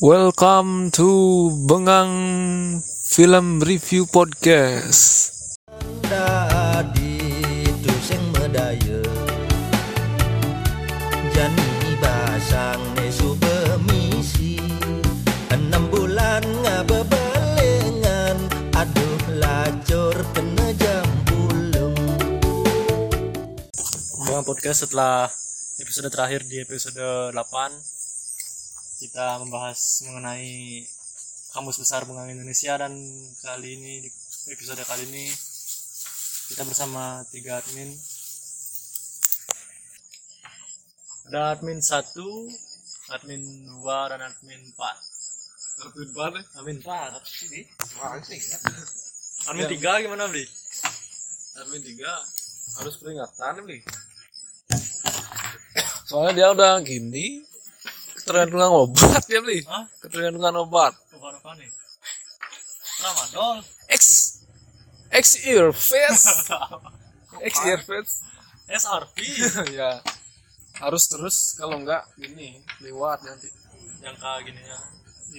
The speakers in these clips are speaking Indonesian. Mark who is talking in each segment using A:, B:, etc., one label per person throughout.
A: Welcome to Bengang Film Review Podcast.
B: tadi tu sing medaya Jani basang ne subemisi Enam bulan ngabebelengan Aduh lacur kena jam pulung
C: Bang podcast setelah episode terakhir di episode 8 kita membahas mengenai kamus besar bunga Indonesia dan kali ini di episode kali ini kita bersama tiga admin ada admin 1 admin 2 dan admin 4 admin 4 admin 4 admin 3 gimana Bli?
D: Admin 3 harus peringatan nih. Soalnya dia udah gini ketergantungan obat ya beli.
C: Hah?
D: Ketergantungan obat.
C: Bukan apa nih? Ramadol
D: X X ear face. X ear face.
C: SRP
D: ya harus terus kalau enggak gini lewat nanti.
C: yang kayak gini ya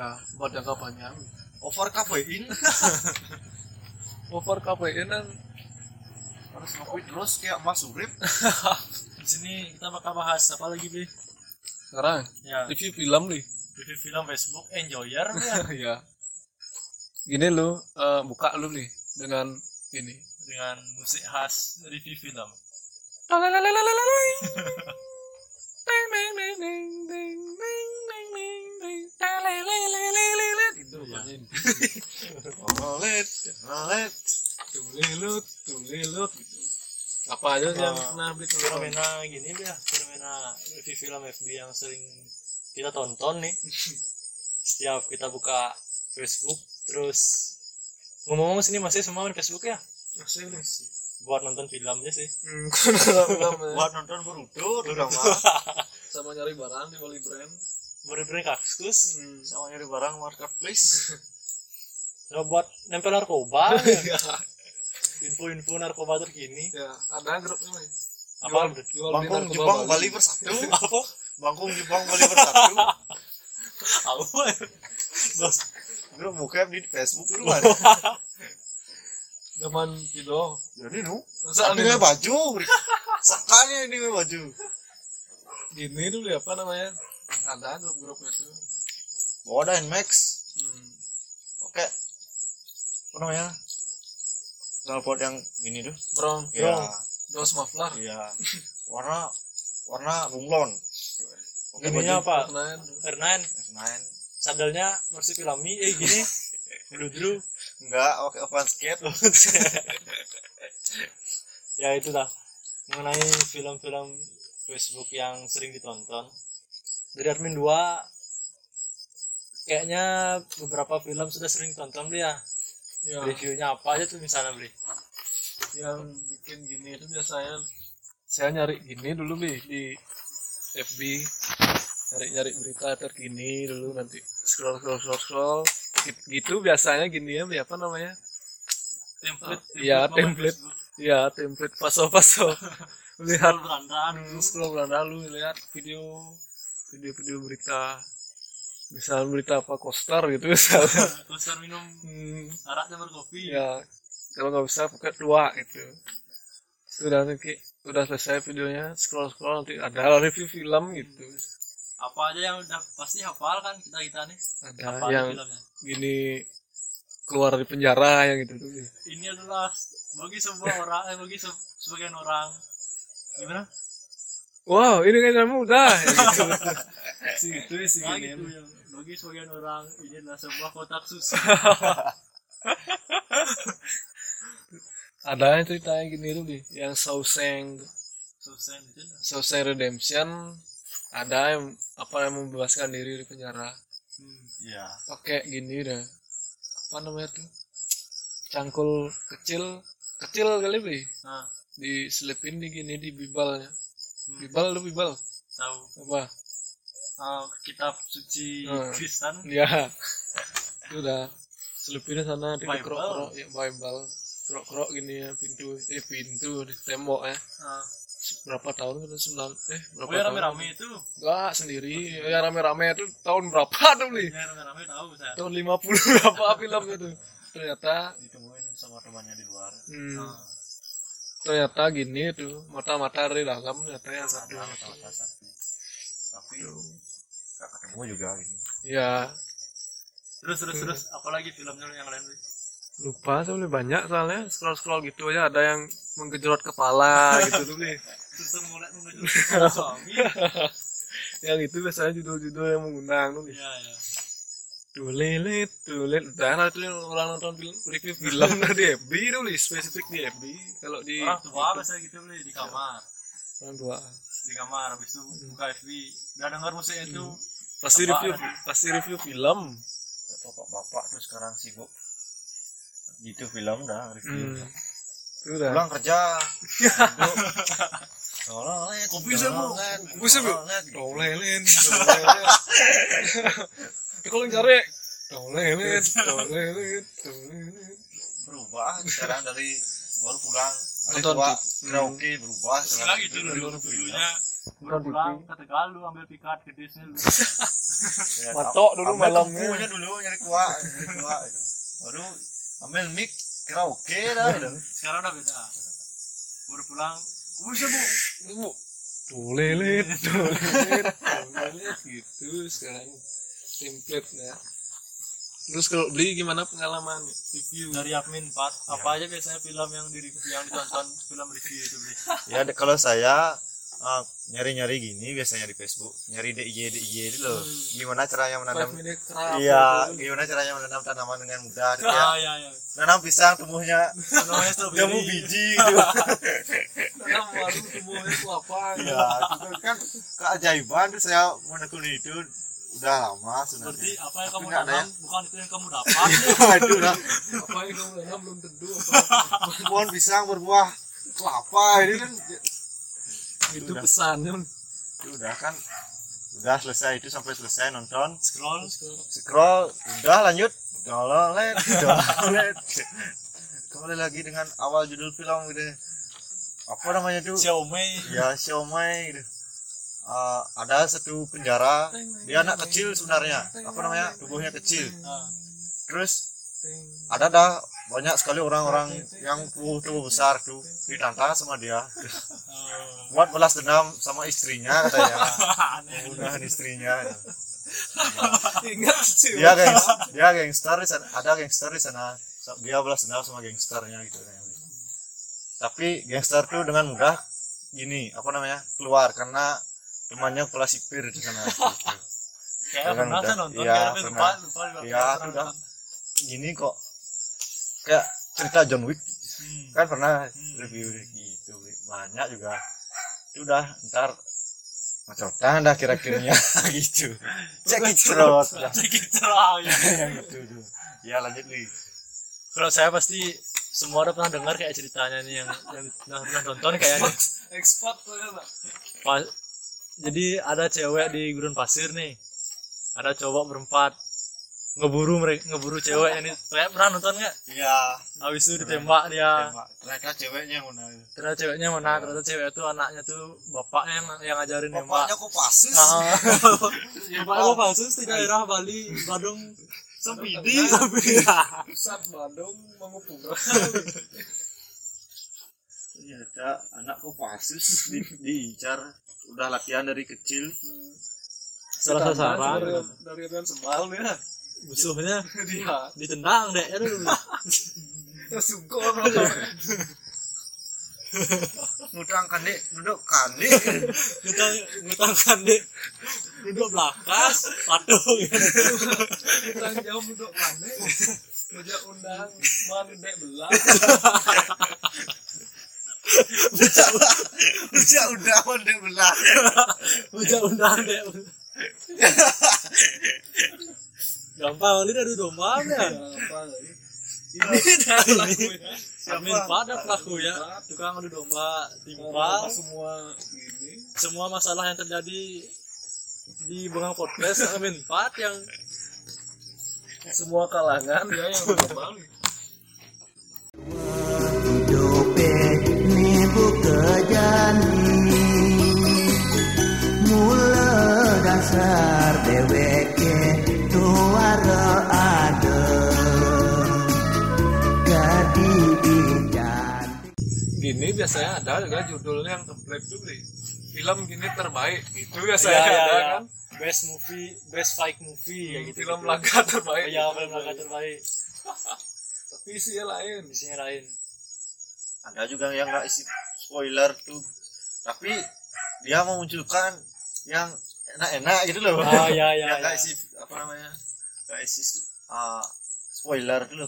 D: Ya buat jangka panjang.
C: over kafein
D: Over kafein kan
C: harus ngopi terus kayak mas urip di sini kita bakal bahas apa lagi bi
D: sekarang
C: ya
D: review film nih.
C: review film Facebook Enjoyer ya
D: ya. Gini lu eh, buka lu nih dengan gini.
C: dengan musik khas review film
D: Itu bunyiin. Olet, olet, tulilut, tulilut. gitu. Apa aja sih
C: Ah,
D: yang pernah beli kalau
C: Eh, fenomena gini bi ya fenomena review film FB yang sering kita tonton nih setiap kita buka Facebook terus ngomong-ngomong sini masih semua main Facebook ya buat nonton filmnya sih buat nonton Boruto
D: sama nyari barang di Bali Brand?
C: beri-beri kaktus
D: Sama nyari barang marketplace.
C: Nggak buat nempel narkoba ya.
D: Iya,
C: info-info narkoba terkini
D: ya, ada grupnya nih.
C: apa bro?
D: Jual beli
E: Bangkung
D: narkoba
E: Jepang Bali bersatu.
C: apa
E: Bangkung Jepang Bali bersatu.
C: apa ya? Dos.
E: Lu buka di Facebook lu kan.
D: Zaman Pido.
E: Jadi nu.
D: Masa
E: Ini
D: aneh
E: mah baju. Sakanya ini mah baju.
D: gini dulu ya, apa namanya? Ada grup-grupnya tuh.
E: Bawa dah Max.
D: Hmm.
E: Oke. Apa namanya? Telepon yang gini tuh.
D: Brong,
E: Iya.
D: dos muffler.
E: Iya. Warna warna bunglon. Oke
C: Ininya
E: baju.
C: apa?
D: Kenain.
C: Hernan,
E: Senayan.
C: sandalnya Mercy Pilami, eh gini. Dudru.
E: Enggak, oke open skate.
C: ya itulah mengenai film-film Facebook yang sering ditonton. Dari admin 2 kayaknya beberapa film sudah sering ditonton beli ya.
D: Ya,
C: Reviewnya apa aja tuh misalnya beli?
D: yang bikin gini itu biasanya saya nyari gini dulu nih di FB nyari-nyari berita terkini dulu nanti scroll scroll scroll scroll Git- gitu biasanya gini ya Bli, apa namanya
C: Template.
D: ya template ya template paso paso lihat
C: Berandaan
D: lu scroll beranda lu lihat video video-video berita misalnya berita apa koster gitu misalnya
C: Besar minum
D: Hmm,
C: araknya berkopi.
D: ya kalau nggak bisa buka dua gitu sudah nanti udah selesai videonya scroll scroll nanti ada review film gitu
C: Apa aja yang udah pasti hafal kan kita kita nih.
D: ada
C: Apa aja
D: yang
C: filmnya?
D: gini keluar dari penjara yang gitu tuh
C: Ini adalah bagi semua orang, eh, bagi se- sebagian orang. Gimana?
D: wow ini kan kamu udah ya gitu. si gitu si
C: Nah,
D: gini
C: gitu yang bagi sebagian orang ini adalah sebuah kotak susu.
D: ada yang ceritanya gini tuh Bi, yang Shawshank
C: Susen itu.
D: Shawshank Redemption ada yang apa yang membebaskan diri dari penjara
E: Iya.
D: pakai gini dah apa namanya tuh cangkul kecil kecil kali beli
C: Nah,
D: diselipin di gini di bibalnya
C: Hmm.
D: bibal lu bibal
C: tahu
D: apa
C: ah, kitab suci
D: Hmm.
C: Kristen Eh,
D: ya itu dah selipinnya sana di
C: Bible.
D: kerok kerok ya bible kerok kerok gini ya pintu eh pintu di tembok ya
C: ah,
D: berapa tahun itu sembilan eh berapa
C: Oh ya
D: tahun
C: rame-rame itu.
D: Enggak, sendiri yang rame-rame itu tahun berapa tuh beli
C: Ya rame-rame tahu saya.
D: tahun 50 berapa film itu ternyata
E: ditemuin sama temannya di luar
D: hmm,
C: Ah.
D: ternyata gini tuh mata-mata dari dalam ternyata yang satu
E: sama sama satu tapi gak ketemu juga gitu
D: ya
C: Terus terus terus
D: Hmm.
C: apalagi filmnya lu yang lain Bli?
D: lupa tuh beli banyak soalnya scroll scroll gitu aja ada yang menggejerot kepala gitu tuh beli
C: Susah mulai menuju ke suami.
D: yang itu biasanya judul-judul yang mengundang tuh
C: Ya ya.
D: Tulilit, tulilit. Udah nah, itu orang nonton film, review film lah di FB tuh beli spesifik di FB. Kalau di
C: Orang tua biasanya gitu beli di kamar.
D: orang tua
C: Di kamar habis itu
D: Hmm.
C: buka FB. Udah denger musiknya itu.
D: pasti
C: Apa?
D: review pasti review film.
E: bapak bapak tuh sekarang sibuk gitu film dah review
D: Hmm. Itu udah.
E: pulang kerja tolong
D: Kopi saya, Bu. Kopi saya, Bu. Dong lelin, Kalau yang cari dong lelin, dong lelin, dong lelin.
E: berubah sekarang dari baru pulang dari
D: Nonton
E: tua
D: di-
E: karaoke berubah
C: Setelah itu dulu dulunya berpulang ke Tegalu ambil pikat ke desa lu.
D: Matok dulu malamnya.
E: kukunya Ya, dulu nyari kuah nyari kuah gitu. baru ambil mic karaoke dah gitu. udah.
C: Sekarang udah beda. Berpulang. Kubu sih bu.
D: Bu. Dong lelin, dong lelin, dong lelin. gitu sekarang template-nya. Terus kalau beli gimana pengalaman?
C: Review dari admin Pak. Apa aja biasanya film yang di yang ditonton film review itu beli.
E: ya de- kalau saya ah, nyari-nyari gini biasanya di Facebook nyari DIY DIY itu loh gimana caranya menanam
D: Five minute craft.
E: iya gimana caranya menanam tanaman dengan mudah gitu ya
C: Ah ya ya.
E: nanam pisang tumbuhnya
C: Namanya strawberry.
E: jamu biji gitu
D: Karena baru tumbuhnya kelapa.
E: ya itu kan keajaiban terus saya menekuni itu udah lama
C: Berarti
E: sebenarnya
C: apa yang kamu
E: Tapi nggak ada ya?
C: tanam bukan itu yang kamu dapat.
E: waduh lah
D: Apa yang kamu tanam belum tentu apa.
E: pohon pisang berbuah kelapa ini kan
D: Itu pesannya.
E: itu udah kan udah selesai itu sampai selesai nonton
C: Scroll.
E: scroll udah lanjut dololet dololet kembali lagi dengan awal judul film gitu apa namanya tuh
C: Xiaomi.
E: ya siomay gitu. Eh, ada satu penjara dia anak kecil sebenarnya apa namanya tubuhnya kecil
C: Ah.
E: terus ada dah banyak sekali orang-orang yang tubuh tubuh besar tuh ditantang sama dia
C: Ah.
E: buat balas dendam sama istrinya katanya
C: Aneh.
E: pembunuhan istrinya gitu.
D: Ingat sih.
E: dia gengs dia gangster di sana ada gangster di sana So- dia belas dendam sama gangsternya gitu tapi gangster tuh dengan mudah gini apa namanya keluar karena temannya kepala sipir di sana gitu.
C: Kayaknya
E: Jangan
C: Ya, pernah
E: udah.
C: saya nonton.
E: Iya,
C: kayaknya lupa
E: pernah.
C: lupa lupa.
E: Iya,
C: Pernah
E: udah.
C: nonton.
E: gini kok kayak cerita John Wick kan pernah review gitu banyak juga itu udah ntar macotan dah kira-kiranya gitu cek cerot dah
C: Sedikit cerah ya.
E: yang itu tuh ya lanjut nih
C: Kalau saya pasti semua udah pernah dengar kayak ceritanya nih yang yang pernah pernah nonton kayaknya.
D: Expat ya, ternyata.
C: Pa- jadi ada cewek di gurun pasir nih ada cowok berempat ngeburu mereka ngeburu cewek ini kayak pernah nonton nggak
E: iya
C: habis itu ditembak dia
E: Tembak. ternyata ceweknya yang mana
C: ternyata ceweknya mana ternyata cewek itu anaknya tuh bapaknya yang yang ngajarin nembak Oh.
E: bapaknya kok pasus
C: Ah. bapak aku palsus di daerah Bali Badung Sempidi Sempidi
D: Saat Bandung mengepung.
E: ternyata anak kok pasus di, diincar udah latihan dari kecil
C: salah sasaran
D: Dari Rian Semal ya.
C: musuhnya
D: Dia
C: ditendang deh aduh
D: sungguh.
E: ngutang kandek duduk kandek
C: ngutang ngutang kandek duduk belakas patung
D: Kita jauh duduk mana. Ngejak undang mandek belah.
E: udah udah udah belah
C: Ujak undang deh. Gampang, ini ada domba ya. Amin pada pelaku ya. Tukang adu domba, timpal,
D: semua ini
C: semua masalah yang terjadi di Bengang Podcast Amin Pat yang semua kalangan ya yang berkembang.
B: Jope ni buka jani dasar dheweke tuwara adem gadi bidan
D: gini biasanya ada juga judulnya yang template tuh beli film gini terbaik gitu
C: Iya,
D: biasanya
C: iya,
D: ada
C: iya.
D: kan
C: Best movie, best fight movie kayak gitu.
D: film
C: gitu.
D: laga terbaik
C: Iya, film laga terbaik.
D: tapi isinya lain
C: Isinya lain.
E: ada juga yang nggak isi spoiler tuh tapi dia memunculkan yang enak-enak gitu loh
C: Ah, ya, ya,
E: yang nggak
C: ya.
E: isi apa namanya nggak isi ah, spoiler dulu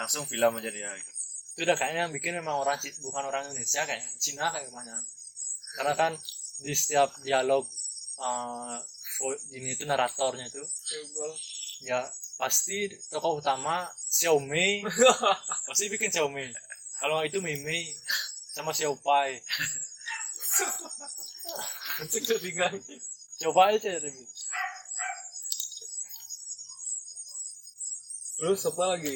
E: langsung film aja dia gitu.
C: itu udah kayaknya yang bikin memang orang Ci- bukan orang Indonesia kayaknya Cina kayak kebanyakan karena kan di setiap dialog eh, vo- ini itu naratornya itu ya pasti tokoh utama Xiaomi pasti bikin Xiaomi kalau nggak itu Mimi sama Xiaopai
D: Cek jadi bingung
C: coba aja ya Demi.
D: terus apa lagi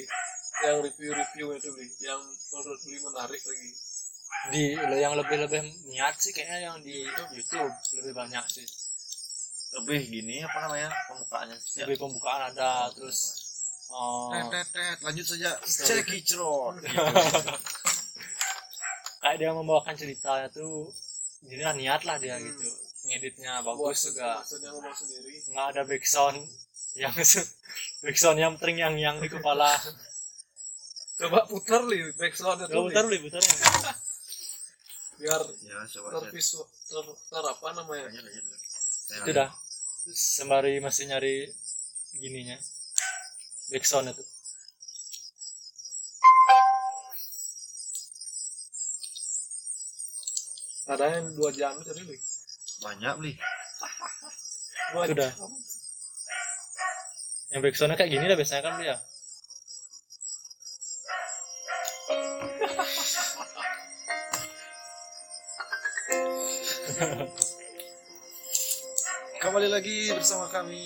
D: yang review-review itu beli yang menurut beli menarik lagi
C: di yang lebih lebih niat sih kayaknya yang di YouTube lebih banyak sih
E: lebih gini apa namanya pembukaannya ya.
C: lebih pembukaan ada terus eh,
E: Tet, tet, tet, lanjut saja cek kicrot
C: Iya. kayak dia membawakan ceritanya tuh jadi lah niat lah dia gitu ngeditnya bagus juga
D: maksudnya ngomong sendiri
C: nggak ada backsound yang backsound yang tering yang yang di kepala
D: coba putar li backsound itu
C: Gak
D: Li.
C: putar beli putar ya
D: biar
E: ya coba cek
D: tervisual ter, ter apa namanya
E: lanjut lanjut
C: itu dah sembari masih nyari gininya backsound itu
D: ada yang dua jam jadi li
E: banyak beli
D: dua
C: Itu dah.
D: jam.
C: yang backsoundnya kayak gini lah biasanya kan dia
E: kembali lagi bersama kami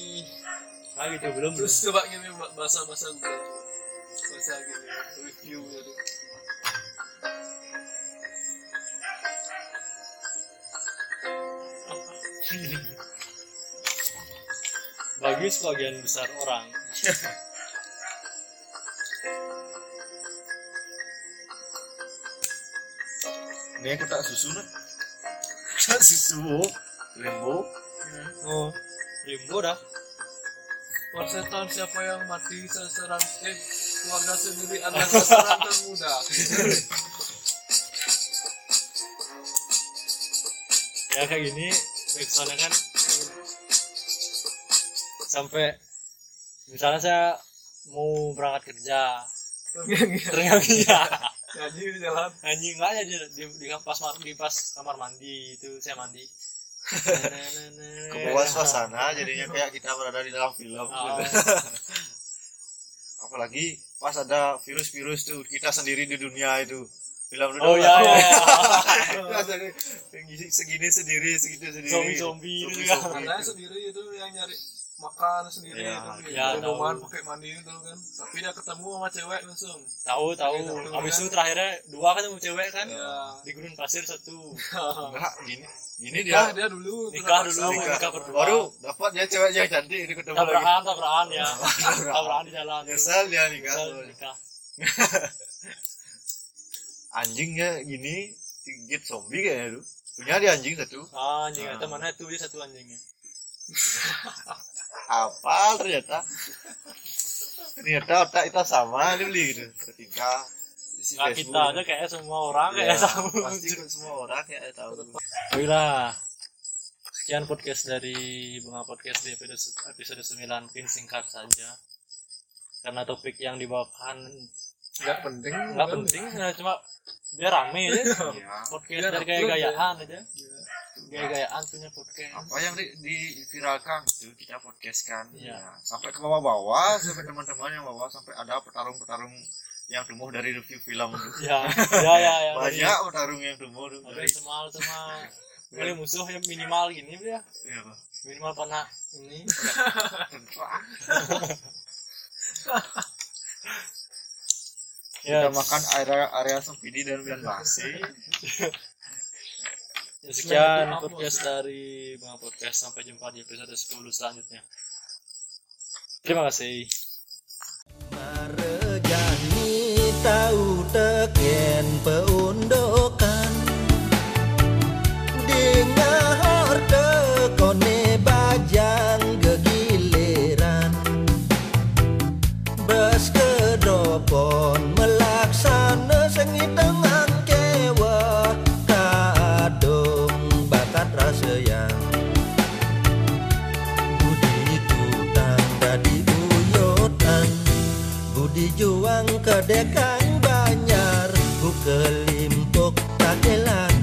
C: ah gitu belum belum
D: terus coba gini bahasa bahasa gue bahasa gini review gitu
C: bagi sebagian besar orang
E: ini aku tak susu nih tak susu limbo
C: oh limbo dah
D: persetan siapa yang mati sasaran eh keluarga sendiri anak sasaran termuda
C: ya kayak gini backsoundnya kan sampai misalnya saya mau berangkat kerja ternyata
D: jadi di jalan
C: anjing nggak aja di, di, di pas ma- di pas kamar mandi itu saya mandi
E: ke bawah suasana jadinya kayak kita berada di dalam
C: Iya.
E: film
C: Oh.
E: apalagi pas ada virus-virus tuh kita sendiri di dunia itu kan film
C: oh ya ya
E: Kita sendiri, segini- segini sendiri segitu sendiri
C: zombie zombie gitu
E: Zombie,
C: ya
E: zombie.
D: Karena sendiri itu yang nyari makan sendiri
E: Ya,
D: itu
C: ya,
D: ya, minuman
C: tahu.
D: pakai mandi itu kan tapi dia ketemu sama cewek langsung
C: tahu tahu habis itu terakhirnya dua kan sama cewek kan
D: ya
C: di gurun pasir satu
E: enggak gini gini
D: nikah
E: dia
D: dia dulu
C: nikah
D: terpaksa.
C: dulu
E: nikah.
C: nikah berdua
E: baru dapat dia cewek yang cantik ini ketemu lagi
C: tabrakan tabrakan ya tabrakan di jalan
E: nyesel dia nikah
C: Nyesel, nikah
E: anjingnya gini digigit zombie kayaknya tuh punya dia anjing satu
C: ah, anjing itu mana itu dia satu anjingnya
E: apa ternyata ternyata otak kita sama dia beli gitu ketika si
C: nah, kita aja kayaknya semua Iya. orang
E: ya,
C: kayak sama
E: pasti semua orang kayak tahu
C: Baiklah. Sekian podcast dari Bunga Podcast di episode, episode 9 mungkin singkat saja. Karena topik yang dibawakan
D: nggak penting
C: nggak penting, Iya. sebenarnya, cuma biar rame aja.
E: Iya.
C: podcast
D: Biar
C: dari
D: upload
C: gaya-gayaan aja. Gaya-gayaan punya podcast.
E: apa yang di, diviralkan itu kita podcastkan
C: Iya.
E: ya. sampai ke bawah-bawah sampai teman-teman yang bawah sampai ada petarung-petarung yang tumbuh dari review film
C: Ya, ya, ya, ya. dari-
E: banyak petarung yang tumbuh tuh
C: Dari
E: dari
C: semal sama boleh musuh yang minimal gini ya.
E: ya, apa?
C: Minimal pernah ini.
E: Tentara.
C: Ya, Ya.
E: kita makan area area sempit dan biar basi
C: Ya, sekian podcast dari Bunga Podcast. Sampai jumpa di episode 10 selanjutnya. Terima kasih.
B: Marejani tahu teken peundokan Dengar tekone bajang gegiliran Bes kedropon melaksana sengi dengan kewa Kadung bakat rasa yang Budi tutang tadi uyotan Budi juang kedekang banyar Ku kelimpuk tak elang